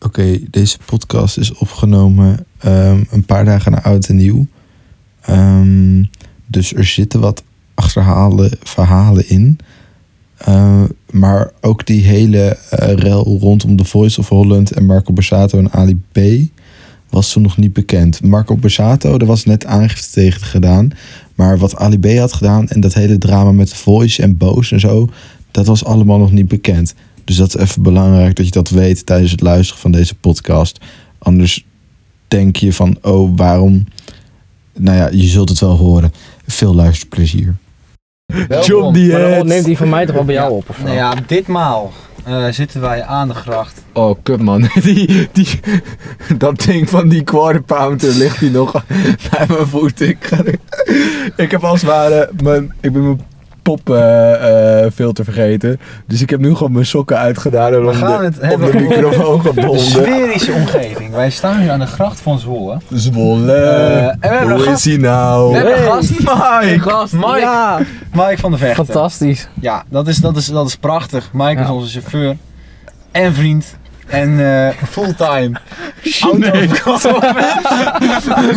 Oké, deze podcast is opgenomen ehm, een paar dagen na oud en nieuw. Ehm, dus er zitten wat achterhalen verhalen in. Eh, maar ook die hele eh, rel rondom The Voice of Holland en Marco Borsato en Ali B. was toen nog niet bekend. Marco Borsato, er was net aangifte tegen gedaan. Maar wat Ali B had gedaan en dat hele drama met The Voice en Boos en zo, dat was allemaal nog niet bekend. Dus dat is even belangrijk dat je dat weet tijdens het luisteren van deze podcast. Anders denk je van, oh, waarom? Nou ja, je zult het wel horen. Veel luisterplezier. Welkom. die Maar dan neemt die van mij toch wel bij jou op of zo? Nou ja, ditmaal eh, zitten wij aan de gracht. Oh, kut man. Die, die, dat ding van die quarter pounder ligt hier nog bij mijn voet. Ik, ga er- ik heb als het ware mijn, ik ben mijn poppenfilter filter vergeten. Dus ik heb nu gewoon mijn sokken uitgedaan en om We gaan de, het om de hebben over microfoon de gebonden. sferische omgeving. Wij staan hier aan de gracht van Zwolle. Zwolle, Eh, en we hebben een hoe gast. is hij nou? We hebben een Hey, gast. Mike. Gast, Mike, Ja, Mike van de Vechten. fantastisch. Ja, dat is, dat, is, dat is prachtig. Mike is Ja. onze chauffeur en vriend. En eh, fulltime autoverkoper.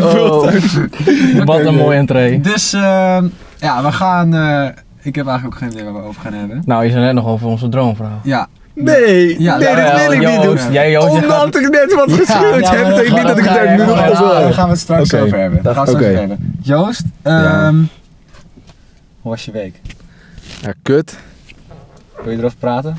Oh, wat een mooie entree. Dus eh, ja, we gaan... eh, ik heb eigenlijk ook geen idee waar we over gaan hebben. Nou, je zei net nog over onze droomvrouw. Ja, Nee, Ja, nee, ja, dat wil ik Joost, niet doen. Jij, Joost, je gaat... Omdat ik net wat gescheurd Ja, heb, maar betekent niet dat ik het dat daar nu ga nog jij op gewoon Ja, wil. daar gaan we het straks Oké. over hebben. Daar gaan we het straks Oké. over hebben. Joost, Ja. ehm, hoe was je week? Ja, kut. Wil je erover praten?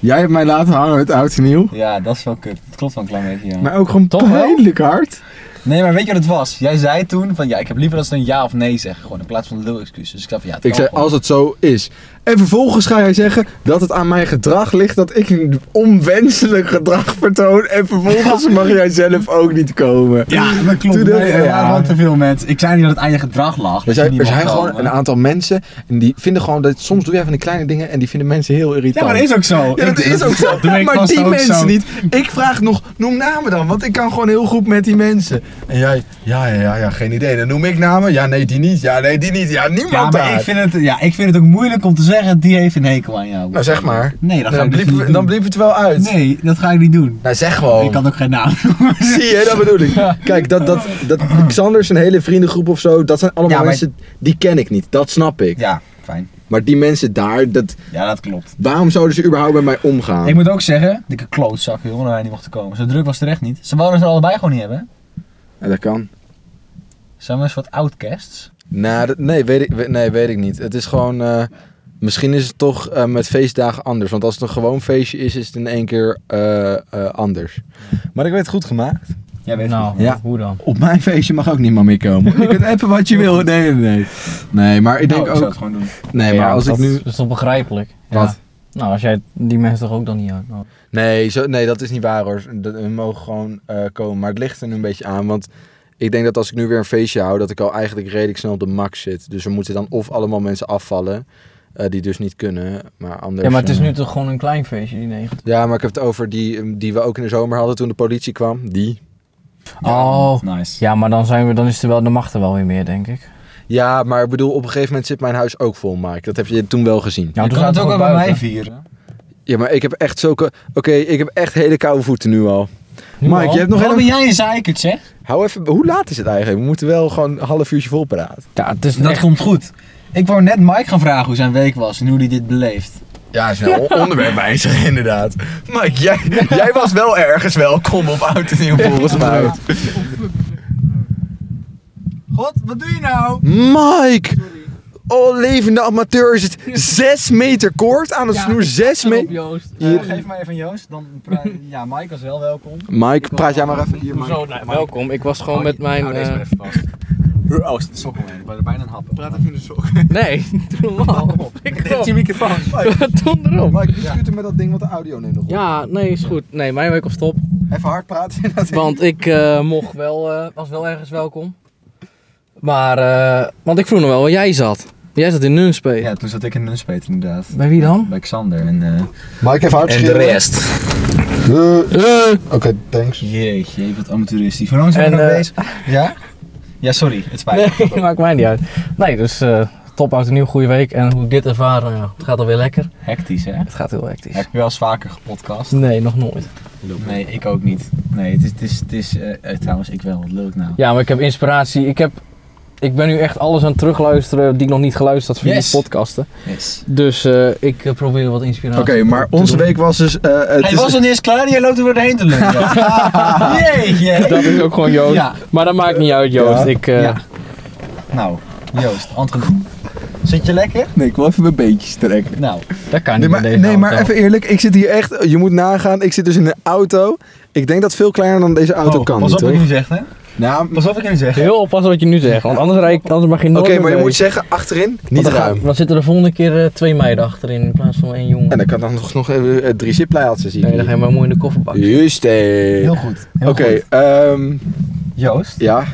Jij hebt mij laten hangen met oud en nieuw. Ja, dat is wel kut. Dat klopt wel een klein beetje, ja. Maar ook gewoon Toch wel? pijnlijk hard. Nee, maar weet je wat het was? Jij zei toen van ja, ik heb liever dat ze een ja of nee zeggen. Gewoon in plaats van een lul excuus. Dus ik dacht van ja, het Ik kan zei, gewoon. als het zo is. En vervolgens ga jij zeggen dat het aan mijn gedrag ligt dat ik een onwenselijk gedrag vertoon. En vervolgens mag jij zelf ook niet komen. Ja, dat klopt. Toen Nee, dacht ik, er ja. waren gewoon te veel mensen. Ik zei niet dat het aan je gedrag lag. Er dat je zijn, niet er mocht zijn gewoon komen. een aantal mensen en die vinden gewoon dat soms doe jij van die kleine dingen en die vinden mensen heel irritant. Ja, maar dat is ook zo. Ja, dat Ik- is ook zo. doe ik Maar vast die ook mensen zo. niet. Ik vraag nog, noem namen dan, want ik kan gewoon heel goed met die mensen. En jij, ja, ja, ja, ja geen idee. Dan noem ik namen. Ja, nee, die niet. Ja, nee, die niet. Ja, niemand Ja, maar daar. ik vind, het, ja, ik vind het ook moeilijk om te zeggen, die heeft een hekel aan jou. Nou, zeg maar. Nee, dat ga Dan ik dus bliep, niet dan doen. bliep het wel uit. Nee, dat ga ik niet doen. Nou, zeg gewoon. Ik kan ook geen naam noemen. Zie je, dat bedoel ik. Kijk, dat, dat, dat Xander zijn hele vriendengroep of zo, dat zijn allemaal Ja, maar- mensen, die ken ik niet. Dat snap ik. Ja, fijn. Maar die mensen daar, dat, Ja, dat klopt. waarom zouden ze überhaupt met mij omgaan? Ik moet ook zeggen, dikke klootzak, jongen, dat wij niet mochten komen. Zo druk was het echt niet. Ze wouden ze er allebei gewoon niet hebben. Ja, dat kan. Zijn we een soort outcasts? Nou, dat- nee, weet ik, we- nee, weet ik niet. Het is gewoon. eh, misschien is het toch eh, met feestdagen anders. Want als het een gewoon feestje is, is het in één keer eh, eh, anders. Maar ik weet het goed gemaakt. Jij weet Nou, Ja. hoe dan? Op mijn feestje mag ook niemand meer komen. je kunt appen wat je wil. Nee, nee. Nou, Nee, maar ik Nou, denk ook. gewoon doen. Nee, maar Ja, als ik dat nu. is toch begrijpelijk? Ja. Wat? Oh, Nou, als jij die mensen toch ook dan niet uitnodigt. Nee, zo, nee, dat is niet waar hoor. Dat, we mogen gewoon eh, komen. Maar het ligt er nu een beetje aan. Want ik denk dat als ik nu weer een feestje hou, dat ik al eigenlijk redelijk snel op de max zit. Dus er moeten dan of allemaal mensen afvallen. eh, die dus niet kunnen. Maar anders. Ja, maar het is eh, nu toch gewoon een klein feestje, die negen. Ja, maar ik heb het over die die we ook in de zomer hadden toen de politie kwam. Die. Oh, Nice. ja, maar dan, zijn we, dan is er wel de macht er wel weer meer, denk ik. Ja, maar ik bedoel, op een gegeven moment zit mijn huis ook vol, Mike. Dat heb je toen wel gezien. Nou, je toen kan het zaten we ook wel bij gewoon mij buiten. vieren. Ja, maar ik heb echt zulke... Oké, ik heb echt hele koude voeten nu al. Nu Mike, al? je hebt nog Waarom ben helemaal... jij een zeikert, zeg? Hou even... Hoe laat is het eigenlijk? We moeten wel gewoon een half uurtje vol praten. Ja, het is Dat echt... komt goed. Ik wou net Mike gaan vragen hoe zijn week was en hoe hij dit beleeft. Ja, snel. Onderwerp wijzigen, inderdaad. Mike, jij, jij was wel ergens welkom op Oud en Nieuw, volgens mij. God, wat doe je nou? Mike! Oh, levende amateur is het. Zes meter koord aan het snoer. Zes meter... Joost. Eh, geef mij even Joost. Dan pra- ja, Mike was wel welkom. Mike, praat jij maar even hier, Mike. Hoezo? Nou, welkom. Ik was gewoon met mijn... Nou, deze maar eh, even vast. Oh, is het sok omheen. Ik ben er bijna een hap. Praat even in de sok. Nee, doe normaal. Ik kom. microfoon. Ton erop. Mike, discuteer met dat ding, want de audio neemt nog op. Ja, nee, is goed. Nee, mijn week op stop. Even hard praten. Want ik eh, mocht wel, eh, was wel ergens welkom. Maar, eh, want ik vroeg nog wel waar jij zat. Jij zat in Nunspeet. Ja, toen zat ik in Nunspeet inderdaad. Bij wie dan? Bij Xander en, eh, Mike, even hard en de rest. Oké, thanks. Jeetje, wat amateuristisch. Hoe lang zijn we En, nog eh, bezig? Ja? Ja, sorry, het spijt me. Nee, maakt mij niet uit. Nee, dus eh, top uit een nieuw goede week. En hoe ik dit ervaar, nou ja, het gaat alweer lekker. Hectisch, hè? Het gaat heel hectisch. Heb je wel eens vaker gepodcast? Nee, nog nooit. Nee, ik ook niet. Nee, het is, het is, het is eh, eh, trouwens, ik wel. Wat leuk nou. Ja, maar ik heb inspiratie. Ik, heb, ik ben nu echt alles aan het terugluisteren die ik nog niet geluisterd had via Yes. die podcasten. Yes. Dus eh, ik eh, probeer wat inspiratie Oké, maar te onze doen. week was dus... eh, het Hij is- was nog niet eens klaar en jij loopt er weer doorheen te lullen. Jeetje. Dat is ook gewoon Joost. Ja, Maar dat maakt niet uit, Joost. Ja. Ik, eh, Ja. nou, Joost, antwoord. Zit je lekker? Nee, ik wil even mijn beentjes trekken. Nou, Dat kan Nee, niet maar, met deze nee, maar auto. even eerlijk, ik zit hier echt... Je moet nagaan, ik zit dus in een auto. Ik denk dat veel kleiner dan deze auto Oh, kan, pas op toch? wat ik nu zeg, hè? Nou, Pas op wat ik nu zeg. Heel oppassen wat je nu zegt, want anders, rijd ik- anders mag je Oké, nooit maar je meer moet mee. zeggen, achterin niet Want dan, ruim. gaan- dan zitten de volgende keer eh, twee meiden achterin in plaats van één jongen. En dan kan dan nog, nog even eh, drie zitplaatsen zien. Nee, dan ga je maar mooi in de kofferbak. Juist, hé. Heel Oké, goed. heel goed. ehm, Joost, ja.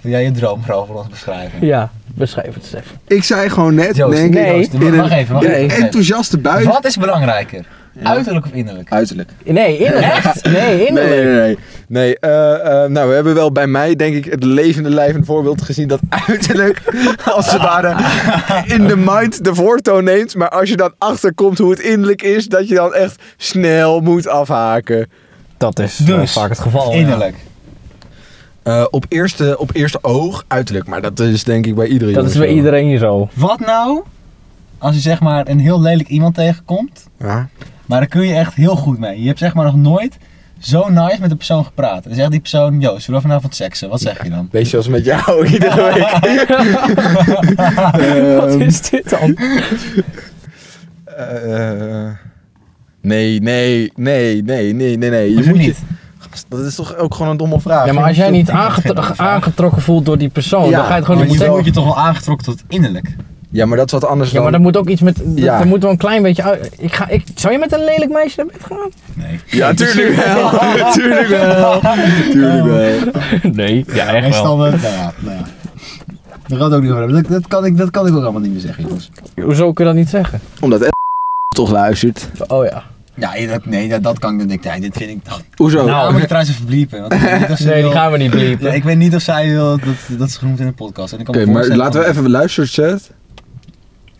wil jij je droom vooral voor ons beschrijven? Ja, beschrijf het eens even. Ik zei gewoon net, Joost, denk ik, nee. Joost, in wacht een- even, wacht in even. een enthousiaste buik. Wat is belangrijker? Uiterlijk of innerlijk? Uiterlijk. Nee, innerlijk. Nee, Nee, innerlijk. nee, nee. nee eh, eh, nou, we hebben wel bij mij, denk ik, het levende lijvend voorbeeld gezien dat uiterlijk, als het ware, in de mind de voortoon neemt. Maar als je dan achterkomt hoe het innerlijk is, dat je dan echt snel moet afhaken. Dat is Dus, wel vaak het geval. ja. Innerlijk. Eh, op, eerste, op eerste oog uiterlijk, maar dat is denk ik bij iedereen. Dat is bij iedereen zo. Wat nou als je zeg maar een heel lelijk iemand tegenkomt, Ja. maar daar kun je echt heel goed mee. Je hebt zeg maar nog nooit zo nice met een persoon gepraat. Dan zegt die persoon, Joost, zullen we vanavond seksen? Wat zeg je dan? Beetje zoals met jou iedere week. Wat is dit dan? Eh, nee, nee, nee, nee, nee, nee, nee. Hoezo je- niet? Gast, dat is toch ook gewoon een domme vraag. Ja, maar als jij niet Ik vind het aangetro- geen vraag. aangetrokken voelt door die persoon, Ja, dan ga je het Maar gewoon je niet moet, zeggen. moet je toch wel aangetrokken tot innerlijk. Ja, maar dat is wat anders Ja, maar dat dan... moet ook iets met. Dat, Ja. dat moet wel een klein beetje uit. Ik ga, ik, zou je met een lelijk meisje naar bed gaan? Nee. Ja, tuurlijk wel. tuurlijk wel. Tuurlijk wel. Nee, ja, Meestal, wel. nou ja, nou ja. Daar gaat het ook niet over hebben. Dat, dat, kan ik, dat kan ik ook allemaal niet meer zeggen, jongens. Hoezo kun je dat niet zeggen? Omdat Ed toch luistert. Oh ja. Ja, dat, nee, dat, dat kan ik niet. Nee, dit vind ik... Hoezo? Nou, moet je trouwens even bliepen. Want ik weet niet of ze Nee, die wil- gaan we niet bliepen. Ja, ik weet niet of zij wil dat, dat ze genoemd in de podcast. En ik kan Oké, me maar voorstellen laten we dat- even luisteren, Seth.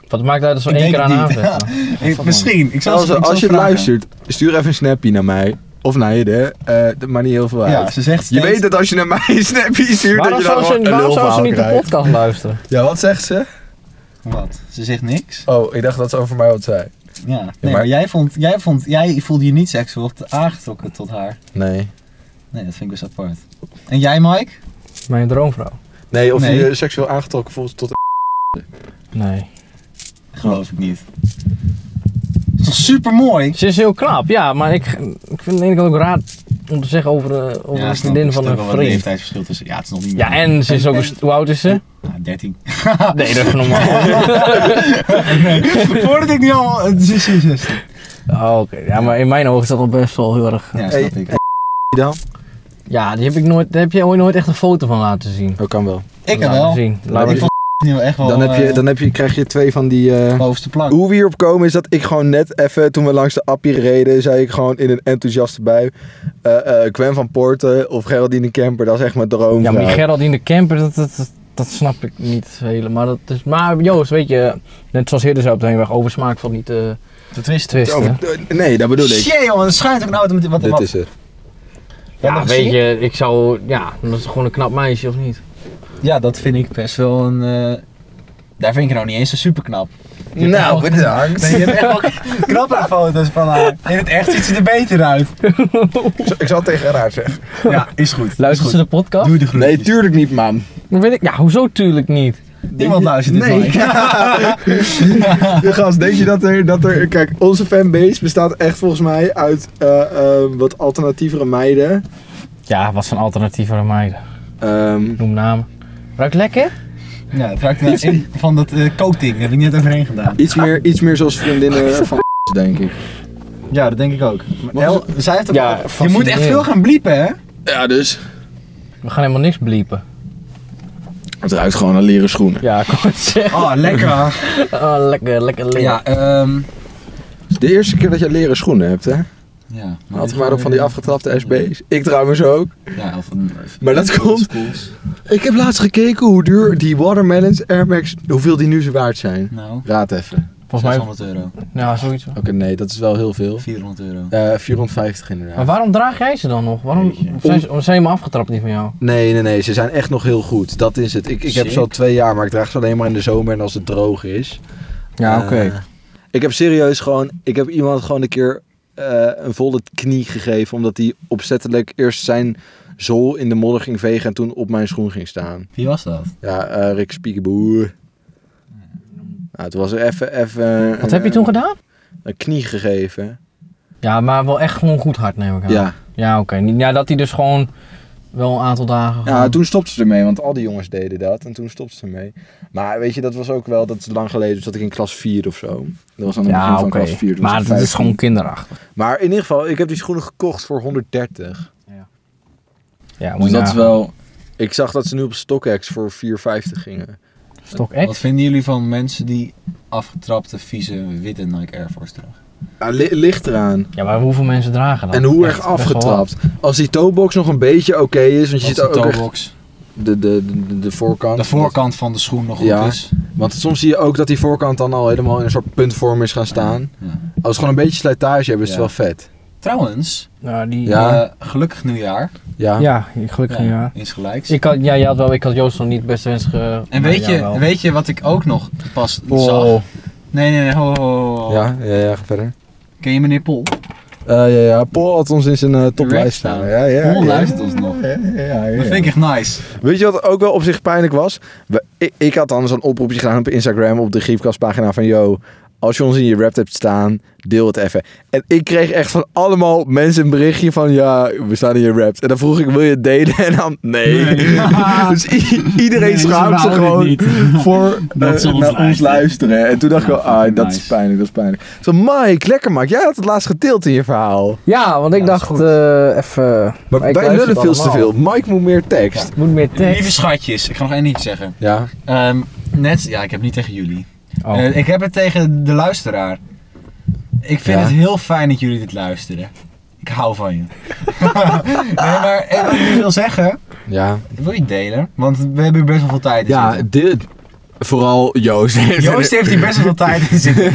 Wat maakt uit als we Ik één denk keer aan het niet. aanzetten? Ik- misschien. Ik zal Als, ze- ik zal als je vragen. luistert, stuur even een snappy naar mij. Of naar je, hè. Eh, dat maakt niet heel veel uit. Ja, ze zegt je steeds- weet dat als je naar mij een snappy stuurt, dat Waarom je dan zou ze, gewoon een waarom zou ze lulverhaal niet de krijgt. podcast luisteren? Ja, wat zegt ze? Wat? Ze zegt niks? Oh, ik dacht dat ze over mij wat zei. Ja. Nee, maar, maar- jij, vond, jij, vond, jij voelde je niet seksueel te- aangetrokken tot haar. Nee. Nee, dat vind ik best apart. En jij, Mike? Mijn droomvrouw. Nee, of Nee. Oh, je je seksueel aangetrokken voelt tot Nee. Geloof ik niet. Dat is toch super mooi? Ze is heel knap, ja, maar ik, ik vind het eigenlijk ook raar om te zeggen over, eh, over een vriendin van een vriend. leeftijdsverschil tussen. Ja, het is nog niet meer. Ja, en ze is ook. een st- Hoe oud is ze? Ah, 13. Nee, dat is normaal. Voordat ik nu al. Het is 16. Oh, Oké, ja, maar in mijn ogen is dat al best wel heel erg. Ja, Hey, snap ik. dan? Ja, die heb ik nooit, daar heb je ooit nooit echt een foto van laten zien. Dat kan wel. Ik heb Laat wel. maar zien. Maar Laat Ik maar zien. vond nu echt wel. Dan, heb je, eh, Oh, dan heb je, krijg je twee van die... eh, bovenste plank. Hoe we hierop komen is dat ik gewoon net even, toen we langs de appie reden, zei ik gewoon in een enthousiaste bui, eh, eh, Gwen van Poorten of Geraldine Kemper, dat is echt mijn droom. Ja, maar die Geraldine Kemper, dat, dat, dat, dat snap ik niet helemaal. Dat is, maar Joost, weet je, net zoals eerder zei op de heenweg, over smaak valt niet te Dat wist twisten. Nee, dat bedoel ik. Shit, jongen, dat schijnt ook nou wat- wat. Dit wat- is het. wat Ja, nog weet gezien? je, ik zou, ja, dat is gewoon een knap meisje, of niet? Ja, dat vind ik best wel een. eh, daar vind ik nou niet eens zo super knap. Nou, bedankt. Nee, je hebt echt wel knappere foto's van haar. In het echt ziet ze er beter uit. Ik zal- Ik zal het tegen haar zeggen. Ja, is goed. Luistert ze de podcast? Doe de groet. Nee, tuurlijk niet, man. Dan weet ik, ja, hoezo tuurlijk niet? Niemand luistert dit, Nee. Mike. De gast, denk je dat er, dat er... Kijk, onze fanbase bestaat echt volgens mij uit eh, eh, wat alternatievere meiden. Ja, wat zijn alternatieven aan meiden? Ehm, Noem namen. Ruikt lekker? Ja, het raakt nou in van dat eh coating. Daar heb ik net overheen gedaan. iets, meer, iets meer zoals vriendinnen van denk ik. Ja, dat denk ik ook. Maar El- zij heeft ook Ja, je moet echt fascinerend. veel gaan bliepen, hè? Ja, dus. We gaan helemaal niks bliepen. Het ruikt gewoon aan leren schoenen. Ja, ik wou het zeggen. Oh, lekker. Oh, lekker, lekker, lekker. Ja, ehm Het is De eerste keer dat jij leren schoenen hebt, hè? Ja, Had ik maar ook van die afgetrapte SB's. Ik trouwens ook. Ja, of een, Maar dat komt- schools. Ik heb laatst gekeken hoe duur die watermelons Air Max, hoeveel die nu zo waard zijn. Nou, Raad even. Volgens mij... 600 euro. Ja, zoiets. Oké, nee, dat is wel heel veel. 400 euro. Eh 450 Maar inderdaad. waarom draag jij ze dan nog? Waarom Jeetje. of zijn ze, of zijn helemaal afgetrapt niet van jou? Nee, nee, nee, ze zijn echt nog heel goed. Dat is het. Ik, ik heb ze al Sick. twee jaar, maar ik draag ze alleen maar in de zomer en als het droog is. Eh, ik heb serieus gewoon, ik heb iemand gewoon een keer eh, een volle knie gegeven, omdat hij opzettelijk eerst zijn zool in de modder ging vegen en toen op mijn schoen ging staan. Wie was dat? Ja, eh Rick Spiekenboer. Nou, het was er even, even... Wat heb je toen gedaan? Een knie gegeven. Ja, maar wel echt gewoon goed hard neem ik aan. Ja. Ja, oké. Niet- Ja, dat hij dus gewoon wel een aantal dagen... Ja, toen stopte ze ermee, want al die jongens deden dat. En toen stopte ze ermee. Maar weet je, dat was ook wel, dat is lang geleden, dus dat ik in klas 4 of zo. Dat was aan het begin Ja, van oké. klas 4. toen was Maar ik dat is 15. gewoon kinderachtig. Maar in ieder geval, ik heb die schoenen gekocht voor 130. Ja, moet Dus je dat is nagaan. wel... Ik zag dat ze nu op StockX voor 4,50 gingen. Stok Wat echt? vinden jullie van mensen die afgetrapte, vieze, witte Nike Air Force dragen? Ja, li- ligt eraan. Ja, maar hoeveel mensen dragen dat? En hoe erg Echt, best wel afgetrapt. Als die toebox nog een beetje oké is, want je Als ziet de ook echt toebox, de, de, de, de voorkant. de voorkant van de schoen nog goed Ja. is. Want soms zie je ook dat die voorkant dan al helemaal in een soort puntvorm is gaan staan. Ja. Als we gewoon een beetje slijtage hebben, is het Ja. wel vet. Trouwens, wat. Nou, die... Ja. eh, gelukkig nieuwjaar. Ja. Ja, gelukkig ja. Eens gelijks. Ik had, ja, je had wel, ik had Joost nog niet best wens ge... en Nou, weet, ja, wel. je, weet je wat ik ook nog pas Oh. zag? Nee, nee, nee. ho, ho, ho. Ja, ja, ja, ga verder. Ken je meneer Pol? Eh, ja, ja, Paul had ons in zijn eh, toplijst staan. staan. Ja, ja, Paul ja. luistert ons nog. Ja, ja, ja, ja. Dat vind ik echt nice. Weet je wat ook wel op zich pijnlijk was? We- ik, ik had dan zo'n oproepje gedaan op Instagram, op de Griefkastpagina van... Yo, als je ons in je rap hebt staan, deel het even. En ik kreeg echt van allemaal mensen een berichtje van... Ja, we staan in je rap. En dan vroeg ik, wil je het delen? En dan, nee. dus i- iedereen Nee, ze schaamt zich wouden het gewoon niet. voor Dat eh, ze ons naar ons luisteren. luisteren. En toen dacht ik Ja, wel, ah, fucking dat nice. is pijnlijk, dat is pijnlijk. Zo, Mike, lekker Mike. Jij had het laatst gedeeld in je verhaal. Ja, want ik Ja, dat is dacht goed. eh, even... Maar Maar ik wij luister lullen het veel te veel. allemaal. Mike moet meer tekst. Moet meer Lieve tekst. schatjes, ik ga nog één ding zeggen. Ja. Ehm, net, ja, ik heb niet tegen jullie. Oh. Eh, ik heb het tegen de luisteraar. Ik vind Ja. het heel fijn dat jullie dit luisteren. Ik hou van je. nee, maar eh, wat ik wil zeggen, Ja. wil je delen? Want we hebben hier best wel veel tijd in Ja, zitten. dit... Vooral Joost. Joost heeft hier best wel veel tijd in zitten.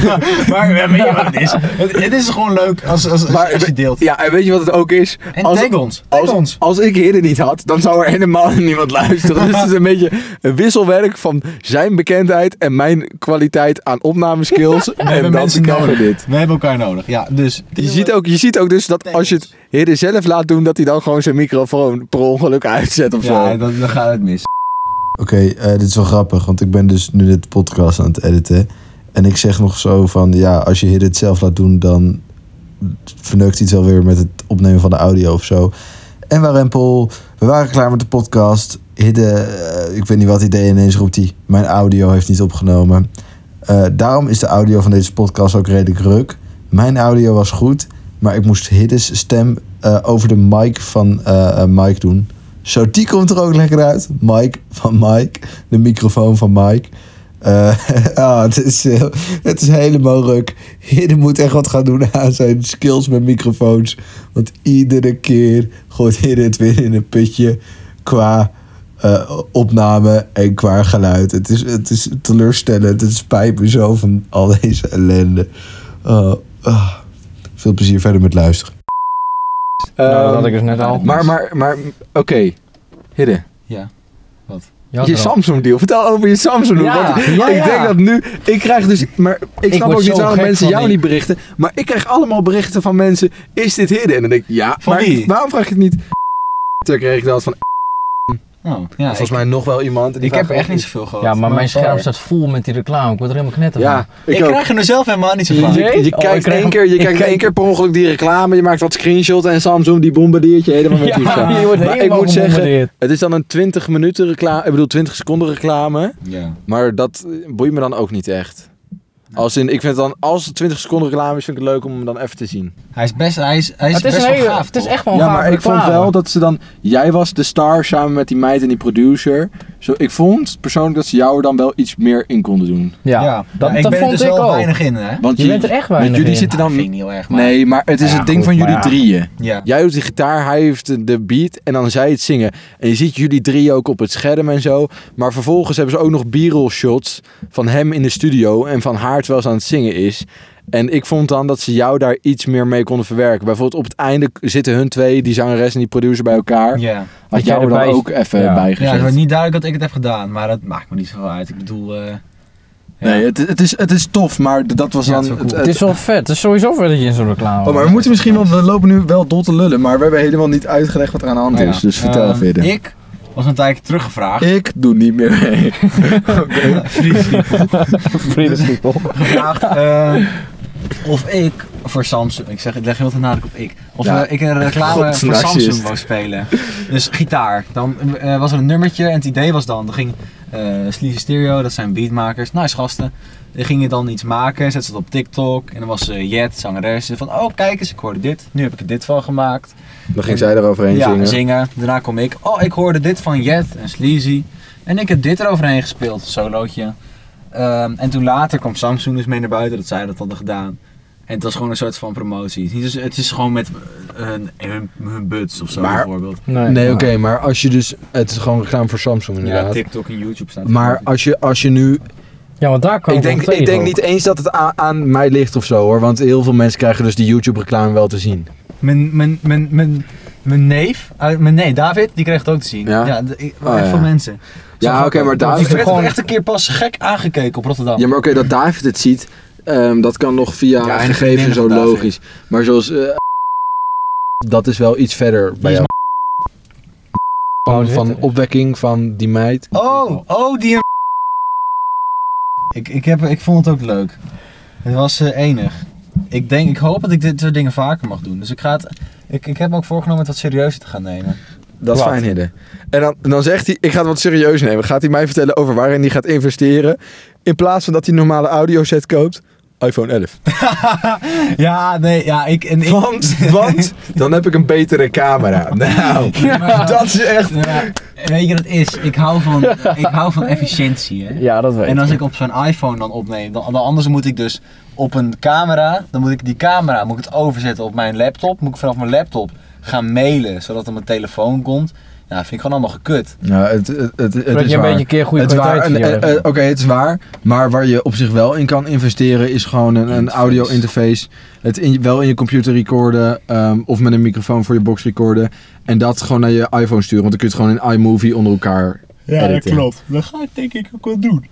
maar we weet je wat het is? Het, het is gewoon leuk als, als, als, Maar- je deelt. Ja, en weet je wat het ook is? En Als- tag ons. Tag Als, ons. als ik Hidden niet had, dan zou er helemaal niemand luisteren. Dus het is een beetje een wisselwerk van zijn bekendheid en mijn kwaliteit aan opnameskills. We hebben en dan mensen krijgen we nodig. dit. We hebben elkaar nodig. Ja, dus. Je ziet, ook, je ziet ook dus dat als je het Hidden zelf laat doen, dat hij dan gewoon zijn microfoon per ongeluk uitzet of Ja, zo. dan, dan gaat het mis. Oké, eh, dit is wel grappig, want ik ben dus nu dit podcast aan het editen. En ik zeg nog zo van, ja, als je dit zelf laat doen, dan verneukt iets wel weer met het opnemen van de audio of zo. En Warempel, we waren klaar met de podcast. Hidde, eh, ik weet niet wat hij deed, ineens roept hij, mijn audio heeft niet opgenomen. Eh, daarom is de audio van deze podcast ook redelijk ruk. Mijn audio was goed, maar ik moest Hiddes stem eh, over de mic van eh, eh, Mike doen. Zo, die komt er ook lekker uit. Mike van Mike. De microfoon van Mike. Eh, ah, het, is, eh, het is helemaal ruk. Hidden moet echt wat gaan doen aan zijn skills met microfoons. Want iedere keer gooit Hidden het weer in een putje qua eh, opname en qua geluid. Het is, het is teleurstellend. Het spijt me zo van al deze ellende. Oh, ah. Veel plezier verder met luisteren. Nou, dat Ehm, had ik dus net al. Maar, maar, maar, oké. Hidden. Ja. Ja, Je Samsung deal. Vertel over je Samsung deal. Ja, want ja, ik ja. denk dat nu. Ik krijg dus. Maar ik snap word ook niet zo waarom gek mensen van jou die- niet berichten. Maar ik krijg allemaal berichten van mensen. Is dit hidden? En dan denk ik, ja. Van maar wie? waarom vraag je het niet? Toen kreeg ik dat van. Oh, ja, ik, volgens mij nog wel iemand. en die ik heb er vraagt echt niet ook- zoveel gehad. ja, maar mijn scherm waar. staat vol met die reclame. Ik word er helemaal knetter Ja, Ik, ik, ook. krijg er nu zelf helemaal niet zo Je, van. Nee? je Oh, ik kijkt krijg één hem- keer, je ik kijkt kijk- één keer per ongeluk die reclame, je maakt wat screenshots en Samsung die bombardeert je helemaal met van. die reclame. je wordt Maar ik helemaal moet zeggen, gebombardeerd. het is dan een 20 minuten reclame, ik bedoel 20 seconden reclame, Ja. maar dat eh, boeit me dan ook niet echt. Als in, ik vind dan, als het 20 seconden reclame is, vind ik het leuk om hem dan even te zien. Hij is best, hij is, hij is het is, best een hele, wel gaaf. het is toch? echt wel een ja, gave maar ik vond reclame. wel dat ze dan... Jij was de star samen met die meid en die producer. Zo, ik vond persoonlijk dat ze jou er dan wel iets meer in konden doen. Ja, dat, ik dat ben vond er dus ik wel ook. weinig in, hè? Want Je bent er echt weinig Want jullie in. zitten Nou, dat vind ik dan... niet heel erg, maar... Nee, maar het is Ja, het ding goed, van maar jullie ja. drieën. Ja. Jij doet die gitaar, hij heeft de beat en dan zij het zingen. En je ziet jullie drie ook op het scherm en zo. Maar vervolgens hebben ze ook nog b-roll shots van hem in de studio en van haar terwijl ze aan het zingen is. En ik vond dan dat ze jou daar iets meer mee konden verwerken. Bijvoorbeeld op het einde zitten hun twee, die zangeres en die producer bij elkaar. Ja. Had jij er dan erbij- ook even Ja. bij ja, gezet. het wordt niet duidelijk dat ik het heb gedaan, maar dat maakt me niet zoveel uit. Ik bedoel... eh, ja. Nee, het, het, is, het is tof, maar dat was Ja, dan... het is wel cool. Het is wel vet. Het is sowieso vet dat je in zo'n reclame Oh, maar we bent. moeten misschien, want we lopen nu wel dol te lullen, maar we hebben helemaal niet uitgelegd wat er aan de hand nou ja. is. Dus vertel Ehm, verder. Ik was een tijdje teruggevraagd. Ik doe niet meer mee. Vriendenspiegel. gevraagd eh, of ik voor Samsung, ik zeg, ik leg heel veel nadruk op ik, of Ja. eh, ik een reclame God, voor narcist. Samsung wou spelen. Dus gitaar. Dan eh, was er een nummertje en het idee was dan, dan ging eh Sleazy Stereo, dat zijn beatmakers, nice gasten, die gingen dan iets maken, zetten ze het op TikTok en dan was eh, Jet, zangeres, van oh kijk eens, ik hoorde dit, nu heb ik er dit van gemaakt. Dan ging zij eroverheen ja, zingen. Daarna kom ik. Oh, ik hoorde dit van Jet en Sleazy. En ik heb dit eroverheen gespeeld, een solootje. Ehm, en toen later kwam Samsung dus mee naar buiten dat zij dat hadden gedaan. En het was gewoon een soort van promotie. Het is, niet- dus, het is gewoon met eh, een, hun, hun buds of zo Maar- bijvoorbeeld. Nee, oké, maar als je dus... Het is gewoon reclame voor Samsung Ja, inderdaad. TikTok en YouTube staan. maar als je, als je nu... Ja, want daar kwam Ik denk, ik denk niet eens dat het aan, aan mij ligt of zo hoor. Want heel veel mensen krijgen dus die YouTube reclame wel te zien. Mijn, mijn, mijn, mijn, mijn neef, uit mijn nee, David, die kreeg het ook te zien. Ja? Ja, de- ik- Oh, echt ja. veel mensen. Ja, oké, maar Ik David... werd gewoon- ook echt een keer pas gek aangekeken op Rotterdam. Ja, maar oké, dat David het ziet, ehm, dat kan nog via Ja, en de gegevens en vriendinnen zo van David. logisch. Maar zoals... eh, dat is wel iets verder bij is jou. Van, Oh, zit van er. opwekking van die meid. Oh, oh, die een... Ik, ik, heb, ik vond het ook leuk. Het was eh, enig. Ik, denk, ik hoop dat ik dit soort dingen vaker mag doen. Dus ik, ga het, ik, ik heb me ook voorgenomen het wat serieuzer te gaan nemen. Dat is Wat? fijn, Hidde. En dan, dan zegt hij, ik ga het wat serieus nemen. Gaat hij mij vertellen over waarin hij gaat investeren. In plaats van dat hij een normale audioset koopt, iPhone 11. ja, nee, ja, ik... En ik Want, want, dan heb ik een betere camera. Nou, Ja. dat is echt... Ja, weet je wat het is? Ik hou van, ik hou van efficiëntie, hè? Ja, dat weet En ik. als ik op zo'n iPhone dan opneem, dan, dan anders moet ik dus op een camera, dan moet ik die camera moet ik het overzetten op mijn laptop. Moet ik vanaf mijn laptop gaan mailen, zodat het op mijn telefoon komt. Ja, vind ik gewoon allemaal gekut. Nou, het, het, het, het Zodat je een beetje een keer goede Het is waar, kwaliteit en- video en- hebt. eh, Oké, het is waar. Maar waar je op zich wel in kan investeren is gewoon een, een Interface. audio interface. Het in, wel in je computer recorden ehm, of met een microfoon voor je box recorden. En dat gewoon naar je iPhone sturen. Want dan kun je het gewoon in iMovie onder elkaar editen. Dat ga ik denk ik ook wel doen.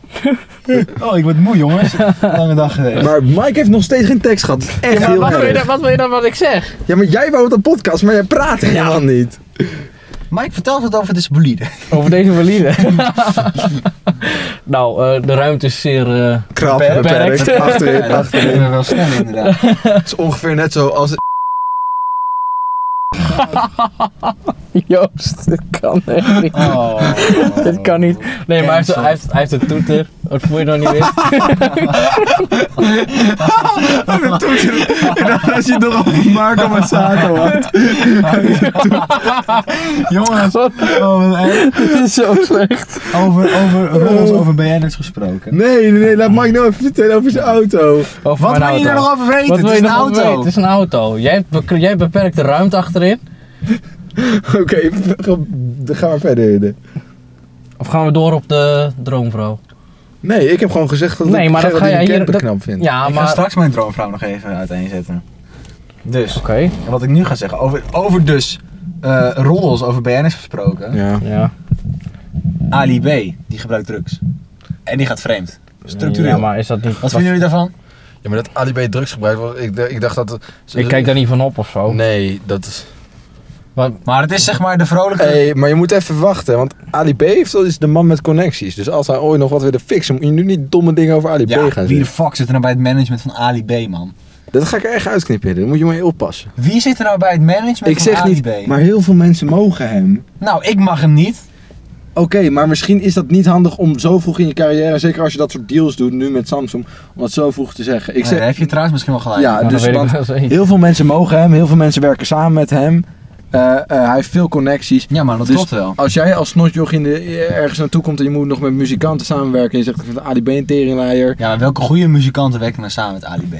oh, ik word moe jongens. Lange dag geweest. Maar Mike heeft nog steeds geen tekst gehad. Dat is Echt Maar heel wat wil, je erg. dan, wat wil je dan wat ik zeg? Ja, maar jij wou het een podcast, maar jij praat helemaal niet. Mike, vertel eens wat over de bolide. Over deze valide. nou, eh, de ruimte is zeer... eh, Krap, Beperkt. beperkt. Achterin, Ja, dat achterin. kunnen we wel snel inderdaad. Het is ongeveer net zo als... Joost, dit kan echt niet. Oh. Dit kan niet. Nee, maar hij heeft, Cancel. hij heeft, hij heeft een toeter. Dat voel je nog niet weer. En dan als je het nog over Marco Mazzato had. Jongens, oh, wat erg. Dit is zo slecht. over, over roddels over BN'ers gesproken. Nee, nee, nee, laat Mike nou even vertellen over zijn auto. Over Wat mijn wil je er auto. nog over weten? Wat het wil is je een nog auto. weten? Het is een auto. Jij, hebt bek- jij hebt beperkte ruimte achterin. Oké, dan gaan we verder. Hidde. Of gaan we door op de droomvrouw? Nee, ik heb gewoon gezegd dat Nee, ik maar Gerard dat in ga jij de hier- camper dat- knap vind. Ja, ik maar... ga Oké. straks mijn droomvrouw nog even uiteenzetten. Dus, wat ik nu ga zeggen, over, over dus eh roddels over BN'ers gesproken. Ja. Ja. Ali B, die gebruikt drugs. En die gaat vreemd. Structureel. Ja, maar is dat niet... Wat vinden jullie daarvan? ja, maar dat Ali B drugs gebruikt, ik, ik dacht dat... Ik kijk daar niet van op of zo. Nee, dat is... Wat- Maar het is zeg maar de vrolijke... Hey, maar je moet even wachten, want Ali B heeft, is de man met connecties. Dus als hij ooit nog wat wilde fixen, moet je nu niet domme dingen over Ali ja, B gaan wie de zeggen. fuck zit er nou bij het management van Ali B, man? Dat ga ik er echt uitknippen, Hidde. daar moet je mee oppassen. Wie zit er nou bij het management ik van zeg Ali niet, B? maar heel veel mensen mogen hem. Nou, ik mag hem niet. Oké, maar misschien is dat niet handig om zo vroeg in je carrière, zeker als je dat soort deals doet nu met Samsung, om dat zo vroeg te zeggen. Ik Ik zeg, heb je trouwens misschien wel gelijk. ja, dat dus Nou, weet want ik wel zeker. heel veel mensen mogen hem, heel veel mensen werken samen met hem. Eh, eh, hij heeft veel connecties. Ja, maar dat Dus- klopt wel. Als jij als snotjoch in de, ergens naartoe komt en je moet nog met muzikanten samenwerken en je zegt ik vind Ali B een teringleier. Ja, maar welke goede muzikanten werken nou samen met Ali B?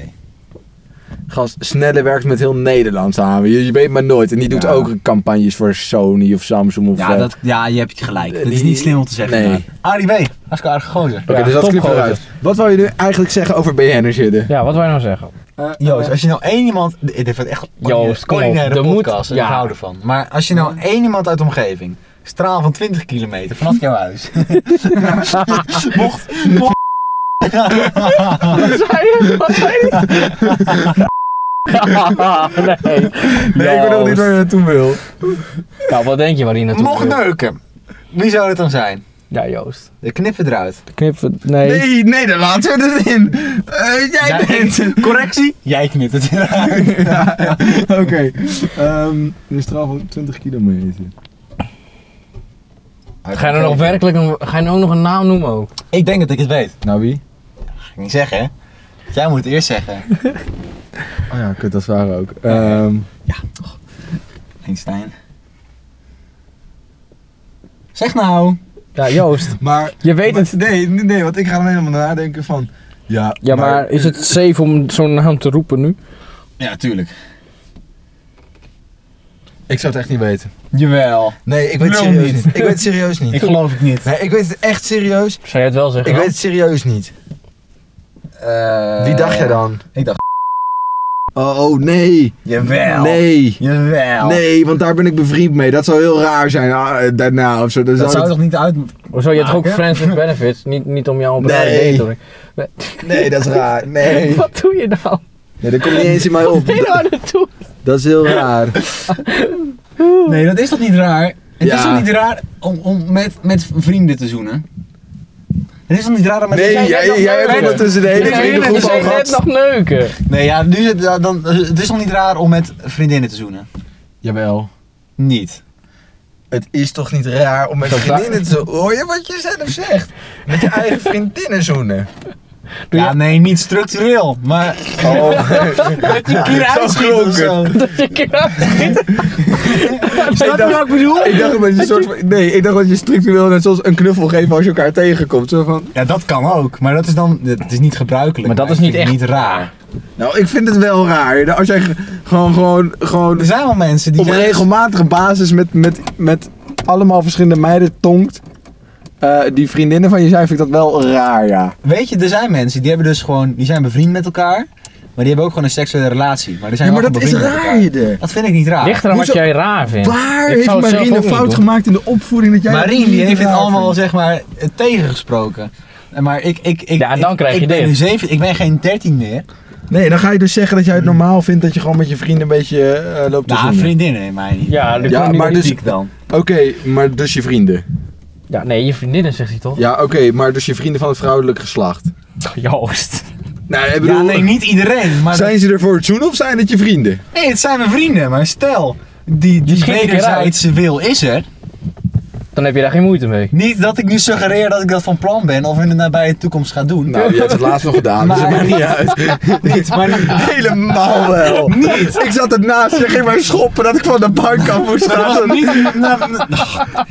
Gast, Snelle werkt met heel Nederland samen. Je, je weet maar nooit. En die doet Ja. ook campagnes voor Sony of Samsung of... Ja, eh, dat, ja, je hebt gelijk. eh, Dat is die- niet slim om te zeggen. nee. maar. Ali B, hartstikke aardige gozer. Oké, dus dat knippen we eruit. Wat wou je nu eigenlijk zeggen over BN'ers zitten? Ja, wat wij nou zeggen? Joost, als je nou één iemand... Dit dit wordt echt een Joost, kom op. ordinaire Er moet- podcast. en ja. Ik hou ervan. Maar als je nou één iemand uit de omgeving... Straal van 20 kilometer vanaf jouw huis. mocht... mocht Wat zei je? Wat zei je? nee. Nee, ik weet nog niet waar je naartoe wil. Nou, wat denk je waar die naartoe mocht wil? neuken. Wie zou het dan zijn? Ja, Joost. De knippen eruit. Knippen. Nee. Nee, nee, daar laten we het in. Eh, jij Jij- bent... Correctie? Jij knipt het eruit. Oké. Ehm, een straal van 20 kilometer. Ga je nou nog werkelijk een, ga je nou ook nog een naam noemen ook? Ik denk dat ik het weet. Nou, wie? Ga ik niet zeggen, hè? Jij moet het eerst zeggen. Oh ja, kut, dat is waar ook. Ehm, Einstein. Zeg nou. Ja, Joost. maar... Je weet het. maar- Nee, nee, nee, want ik ga er helemaal nadenken van... Ja, Ja, maar, eh, is het safe om zo'n naam te roepen nu? Ja, tuurlijk. Ik zou het echt niet weten. Jawel. Nee, ik weet het Lul serieus niet. niet. Ik weet het serieus niet. Ik geloof het niet. Nee, ik weet het echt serieus. Zou je het wel zeggen? Ik weet het serieus niet. Eh, Wie dacht jij dan? Ik dacht- Oh, oh, nee. Jawel. Nee. Jawel. Nee, want daar ben ik bevriend mee. Dat zou heel raar zijn ah, eh, daarna of zo. Dan Dat zou het- toch niet uit... Hoezo, je hebt toch ook Maken? friends with benefits? Niet, niet om jou op een Ah, Nee. rare date, hoor. Nee, dat is raar. Nee. Wat doe je nou? nee dat komt niet eens in mij op. Ben je nou naartoe? Dat is heel raar. Nee, dat is toch niet raar? Het Ja. is toch niet raar om, om met, met vrienden te zoenen? Het is toch niet raar om met... Nee, jij, jij, hebt leuk. dat tussen de hele Ja, jullie vriendengroep al zijn dus net gehad. nog neuken. Nee, ja, nu is het, ja, dan, het is toch niet raar om met vriendinnen te zoenen? Jawel. Niet. Het is toch niet raar om met vriendinnen te hoor je wat je zelf zegt? Met je eigen vriendinnen zoenen. Doe ja, je- nee, niet structureel, maar... Oh, Dat je keer Zo uitschiet of zo. klonken. Dat je kruipt. Snap je wat ik bedoel? ik dacht dat je soort van- nee, ik dacht dat je structureel net zoals een knuffel geeft als je elkaar tegenkomt. Zo van, Ja, dat kan ook, maar dat is dan, het is niet gebruikelijk. Maar dat is ik niet vind het echt niet raar. raar. nou, ik vind het wel raar. Als jij ge- gewoon, gewoon, gewoon Er zijn wel mensen die op een regelmatige basis met, met, met allemaal verschillende meiden tongt. eh, die vriendinnen van je zijn, vind ik dat wel raar, ja. Weet je, er zijn mensen die hebben dus gewoon, die zijn bevriend met elkaar, maar die hebben ook gewoon een seksuele relatie. Maar die zijn ja wel maar dat gewoon is bevriend met raar, elkaar. Jide. Dat vind ik niet raar. Ligt eraan wat Hoezo- jij raar vindt. Waar Ik heeft zou het zelf Marien ook een niet fout doen. gemaakt in de opvoeding dat jij... Marien die heeft dit raar allemaal vindt? zeg maar eh, tegengesproken. Eh, Maar ik, ik, ik, Ja, dan ik- krijg je ik ben dit. nu zeven, ik ben geen 13 meer. Nee, dan ga je dus zeggen dat jij het normaal vindt dat je gewoon met je vrienden een beetje eh, loopt te Hmm. Nou, zoenen. vriendinnen in mij niet. Ja, dat Ja, kan niet maar meer dus- ziek. Ik dan. Oké, maar dus je vrienden. dus- Ja, nee, je vriendinnen zegt hij toch? Ja, oké, maar dus je vrienden van het vrouwelijk geslacht. Joost. Nou, ik bedoel, Ja, nee, niet iedereen. Maar zijn ze er voor het zoenen of zijn het je vrienden? nee, het zijn mijn vrienden, maar stel, die, die schiet een keer wederzijdse wil is er. Dan heb je daar geen moeite mee. Niet dat ik nu suggereer dat ik dat van plan ben of in de nabije toekomst ga doen. Nou, je hebt het laatst nog gedaan, dus dat Maar- maakt niet uit. niet, maar Helemaal wel. Niet. Ik zat ernaast, je ging mij schoppen dat ik van de bank af moest gaan. Dat, niet. na-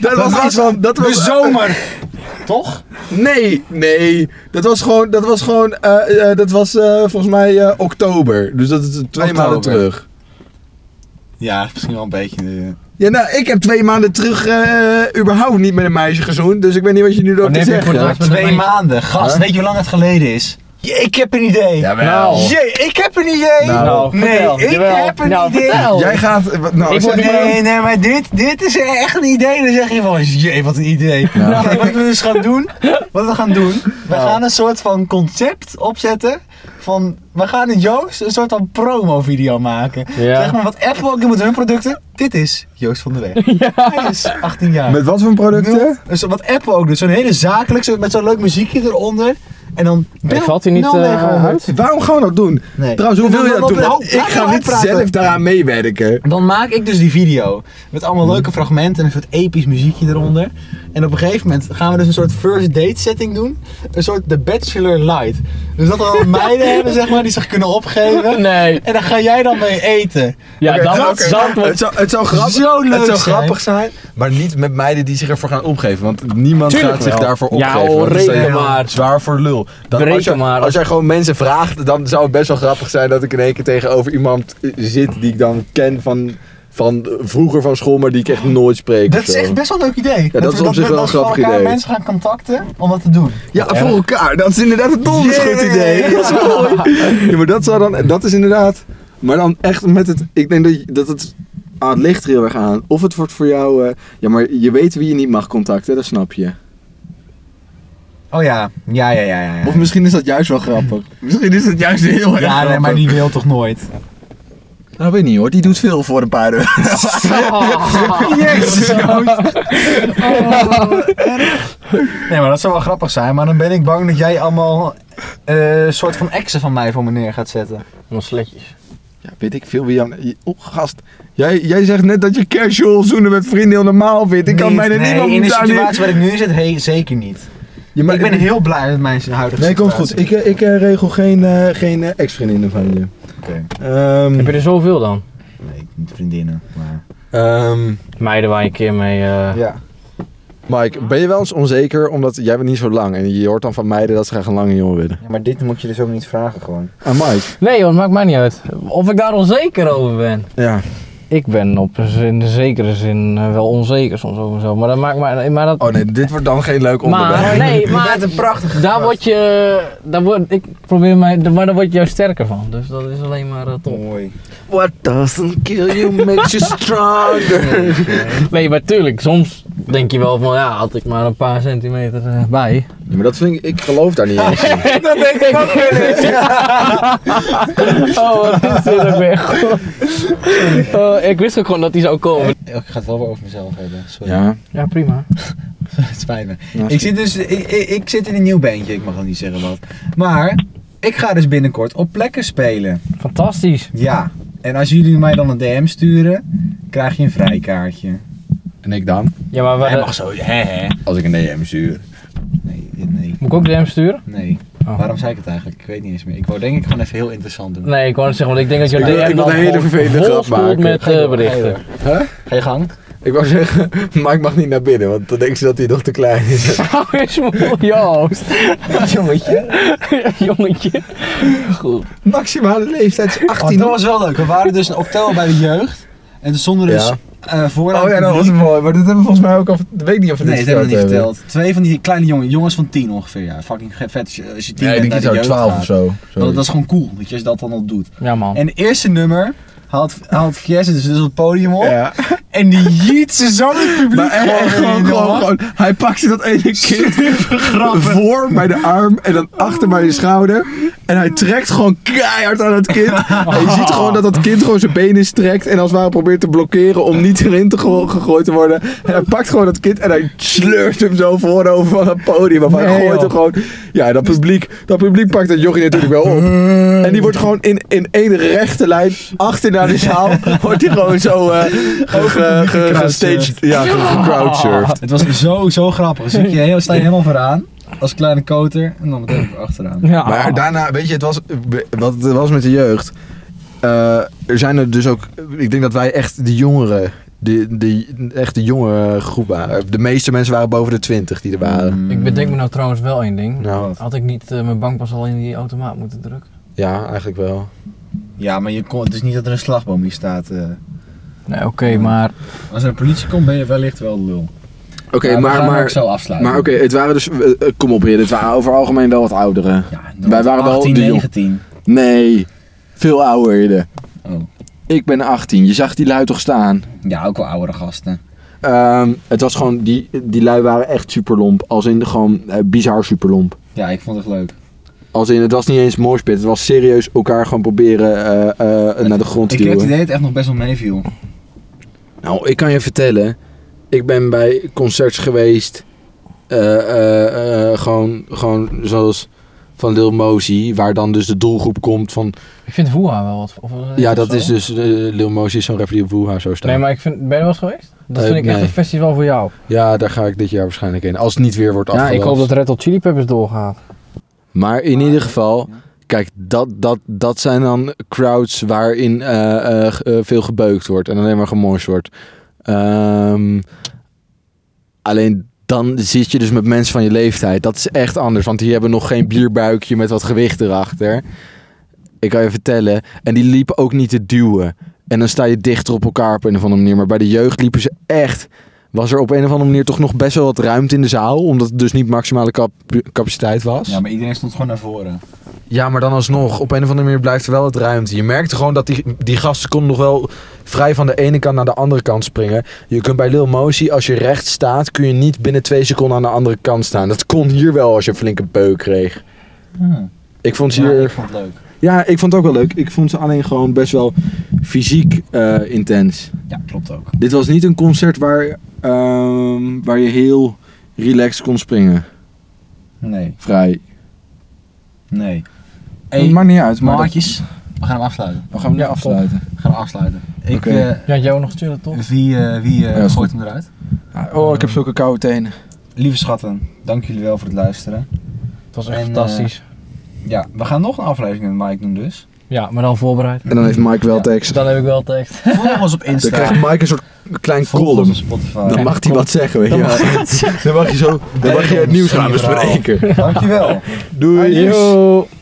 na- was iets van, dat de was... zomer. Toch? Nee, nee. Dat was gewoon, dat was gewoon, eh, eh, dat was eh, volgens mij eh, oktober. Dus dat is twee maanden Oktober. terug. Ja, misschien wel een beetje. eh. Ja, nou, ik heb twee maanden terug eh, überhaupt niet met een meisje gezoend, dus ik weet niet wat je nu loopt te Wanneer heb je voor zeggen. het laatst met een twee meisje- maanden. Gast, Huh? weet je hoe lang het geleden is? Je- ik heb een idee. Nou. Jee, ik heb een idee. Nou, nee, vertel. ik Jawel. heb een Nou, idee. vertel. Jij gaat, eh, wat- nou, Ik zeg- word- Nee, nee, maar dit, dit is echt een idee. Dan zeg je van, jee, wat een idee. Nou, kijk, wat we dus gaan doen, wat we gaan doen, we Nou. gaan een soort van concept opzetten van, we gaan in Joost een soort van promo-video maken. Ja. Zeg maar, wat Apple ook doet met hun producten, dit is Joost van der Weg. Hij is 18 jaar. met wat voor producten? Nul- zo- wat Apple ook doet, zo'n hele zakelijk, zo, met zo'n leuk muziekje eronder. En dan bel valt hij niet, eh, 0900. hard? Waarom gaan we dat doen? Nee. Trouwens, hoe En wil je dan- Nou, dat doen? dan- Want dan- ik ga laat niet mij praten. zelf daaraan meewerken. Mhm. Dan maak ik dus die video. Met allemaal leuke fragmenten en een soort episch muziekje eronder. En op een gegeven moment gaan we dus een soort first date setting doen. Een soort The Bachelor Light. Dus dat we dan meiden hebben, zeg maar, die zich kunnen opgeven. Nee. En daar ga jij dan mee eten. Ja, Oké, dat, oké. dat, dat wordt... het, zou, het zou grappig, Zo leuk het zou zijn. grappig zijn, maar niet met meiden die zich ervoor gaan opgeven. Want niemand Tuurlijk gaat wel. zich daarvoor Ja, opgeven. hoor, want dan sta je reken maar. Zwaar voor lul. Dan, Reken als, jij, maar. als jij gewoon mensen vraagt, dan zou het best wel grappig zijn dat ik in één keer tegenover iemand eh, zit die ik dan ken van, van vroeger van school, maar die ik echt nooit spreek. Dat of is zo. echt best wel een leuk idee. dat is op zich wel een dat we grappig elkaar idee. mensen gaan contacten om dat te doen. Ja, voor elkaar. Dat is inderdaad een donders goed idee. Dat is mooi. Ja, maar dat zou dan, dat is inderdaad. Maar dan echt met het, ik denk dat, je- dat het, ah, het ligt er heel erg aan. Of het wordt voor jou, eh, ja, maar je weet wie je niet mag contacten, dat snap je. Oh ja, ja, ja, ja. ja, ja. Of misschien is dat juist wel grappig. Misschien is dat juist heel erg ja, grappig. nee, maar die wil toch nooit? Dat weet ik niet hoor, die doet veel voor een paar uur. Oh. Jezus, Oh. Nee, maar dat zou wel grappig zijn, maar dan ben ik bang dat jij allemaal eh soort van exen van mij voor me neer gaat zetten. Allemaal sletjes. Ja, weet ik veel wie jou... Oh, gast. Jij, jij zegt net dat je casual zoenen met vrienden heel normaal vindt. Ik kan Niet, bijna nee, niemand In de daar niet- situatie waar ik nu in zit, hey, zeker niet. Ja, maar ik ben heel blij met mijn huidige Nee, komt situatie. goed. Ik, eh, ik eh, regel geen, eh, geen eh, ex-vriendinnen van je. Oké. Ehm, Heb je er zoveel dan? Nee, niet vriendinnen, maar... ehm, Meiden waar je een keer mee... eh, ja. Mike, ben je wel eens onzeker omdat jij bent niet zo lang en je hoort dan van meiden dat ze graag een lange jongen willen? Ja, maar dit moet je dus ook niet vragen gewoon. Aan Ah, Mike? Nee joh, het maakt mij niet uit. Of ik daar onzeker over ben. Ja. Ik ben op, in de zekere zin eh, wel onzeker soms over mezelf. Maar dat maakt mij... Maar dat, Oh nee, dit wordt dan geen leuk onderwerp. Oh, maar, nee, maar prachtige daar word je... Daar word, ik probeer mij... Maar daar word je juist sterker van. Dus dat is alleen maar eh, top. Mooi. What doesn't kill you makes you stronger. Nee, maar tuurlijk, soms denk je wel van ja, had ik maar een paar centimeter eh, bij. Ja, maar dat vind ik, ik geloof daar niet eens in. Dat denk ik ook weer. Oh, wat is dit ook weer? Goed. Oh, ik wist ook gewoon dat die zou komen. Ik ga het wel weer over mezelf hebben, sorry. Ja. Ja, prima. Het spijt me. Ja, Ik zit dus, ik, ik, ik zit in een nieuw bandje, ik mag al niet zeggen wat. Maar ik ga dus binnenkort op plekken spelen. Fantastisch. Ja. En als jullie mij dan een DM sturen, krijg je een vrijkaartje. En ik dan? Ja, maar waar, Hij mag zo, hè hè. Als ik een DM stuur. Nee, nee, moet ik ook DM sturen? nee. Oh. Waarom zei ik het eigenlijk? Ik weet niet eens meer. Ik wou denk ik gewoon even heel interessant doen. Nee, ik wou het zeggen, want ik denk dat je Ik wil- DM ik wil dan een hele gewoon vervelende grap volspoelt maken. met Ga je eh, door, berichten. Ga je, door. Huh? Ga je gang. Ik wou zeggen, Mike mag niet naar binnen, want dan denken ze dat hij nog te klein is. Hou eens Oh, moe, Joost. Jongetje. Jongetje. Goed. Maximale leeftijd is Oh, 18. dat was wel leuk. We waren dus in oktober bij de jeugd. En toen stonden dus Ja. eh, vooraan Oh ja, dat was mooi. Maar dit hebben we volgens mij ook al... Ik weet niet of we dit Nee, dat hebben we niet verteld hebben. verteld. Twee van die kleine jongen, jongens van tien ongeveer. Ja. Fucking vet als je, als je tien Nee, bent ik naar de denk dat jeugd 12 gaat. of zo. Dat, dat is gewoon cool, dat je dat dan al doet. Ja man. En het eerste nummer haalt, haalt Fiesse dus, dus op het podium op. Ja. En die jiet ze zo in het publiek Maar echt gewoon, gewoon, in, gewoon, jongen. gewoon. Hij pakte dat ene kind voor bij de arm en dan achter bij je schouder. En hij trekt gewoon keihard aan het kind. En je ziet gewoon dat dat kind gewoon zijn benen strekt. En als het ware probeert te blokkeren om niet erin te gego- gegooid te worden. En hij pakt gewoon dat kind en hij sleurt hem zo voorover van het podium. Of hij Nee, gooit joh. hem gewoon. Ja, dat publiek, dat publiek pakt dat jochie natuurlijk wel op. En die wordt gewoon in, in één rechte lijn achter naar de zaal. Wordt die gewoon zo eh ge- ge- ge- gestaged. Ja, ge- gecrowdsurfed. Het was zo, zo grappig. Dus je, heel, sta je helemaal vooraan, als kleine koter, en dan meteen weer achteraan. ja. Maar daarna, weet je, het was, wat het was met de jeugd. eh, er zijn er dus ook, ik denk dat wij echt de jongeren, de, de, echt de jongere groep waren. De meeste mensen waren boven de 20 die er waren. Ik bedenk me nou trouwens wel één ding. Nou, Had ik niet eh, mijn bankpas al in die automaat moeten drukken? ja, eigenlijk wel. Ja, maar je kon, het is niet dat er een slagboom hier staat. eh. Nee, oké, maar Als er een politie komt, ben je wellicht wel de lul. Oké, we maar, gaan maar, ook zo afsluiten. maar oké, het waren dus, eh, eh, kom op Ridder, het waren over algemeen wel wat ouderen. Ja, Wij waren wel 18, de jong- 19. Nee, veel ouder Ridder. Oh. Ik ben 18, je zag die lui toch staan? Ja, ook wel oudere gasten. Ehm, het was gewoon, die, die lui waren echt superlomp. Als in de gewoon eh, bizar superlomp. Ja, ik vond het leuk. Als in, het was niet eens moshpit. Het was serieus elkaar gewoon proberen eh, eh, naar de grond te Ik heb het duwen. idee dat het echt nog best wel meeviel. Nou, ik kan je vertellen. Ik ben bij concerts geweest. eh, eh, eh, gewoon, gewoon zoals van Lil Mosey, waar dan dus de doelgroep komt van... Ik vind Woeha wel wat. Of, Ja, dat zo. is dus... eh, Lil Mosey is zo'n rapper die op Woeha zo staat. Nee, maar ik vind, ben je er wel eens geweest? Dat Eh, vind ik echt nee. een festival voor jou. Ja, daar ga ik dit jaar waarschijnlijk heen. Als het niet weer wordt Ja, afgelast. ik hoop dat Red Hot Chili Peppers doorgaat. Maar in ieder geval, kijk, dat, dat, dat zijn dan crowds waarin eh, eh, ge- eh, veel gebeukt wordt en alleen maar gemorst wordt. Ehm, alleen dan zit je dus met mensen van je leeftijd. Dat is echt anders, want die hebben nog geen bierbuikje met wat gewicht erachter. Ik kan je vertellen. En die liepen ook niet te duwen. En dan sta je dichter op elkaar op een of andere manier. Maar bij de jeugd liepen ze echt. Was er op een of andere manier toch nog best wel wat ruimte in de zaal. Omdat het dus niet maximale cap- capaciteit was. Ja, maar iedereen stond gewoon naar voren. Ja, maar dan alsnog, op een of andere manier blijft er wel het ruimte. Je merkt gewoon dat die, die gasten konden nog wel vrij van de ene kant naar de andere kant springen. Je kunt bij Lil Mosey, als je recht staat, kun je niet binnen twee seconden aan de andere kant staan. Dat kon hier wel als je een flinke beuk kreeg. Ah. Ik vond ze Ja, ik hier... vond het leuk. Ja, ik vond het ook wel leuk. Ik vond ze alleen gewoon best wel fysiek eh, intens. Ja, klopt ook. Dit was niet een concert waar, ehm, waar je heel relaxed kon springen. Nee, Vrij. nee. Hey, maakt niet uit, maar... dat- maatjes, we gaan hem afsluiten. We gaan hem nu afsluiten. We gaan hem afsluiten. Ik, Oké. eh, Ja, jou nog chillen toch? wie eh, wie eh, Ja, is gooit hem eruit? Oh, ik heb zulke koude tenen. Lieve schatten, dank jullie wel voor het luisteren. Het was echt En, fantastisch. Ja, we gaan nog een aflevering met Mike doen dus. ja, maar dan voorbereid. En dan heeft Mike wel tekst. Dan heb ik wel tekst. Volg ons op Dan Insta. krijgt Mike een soort klein Volg ons column. op Dan Spotify. mag hij wat zeggen, weet je. Dan mag wel. Dan mag je zo, dan mag je het nieuws gaan bespreken. Dankjewel. Doei. Adios. Yo.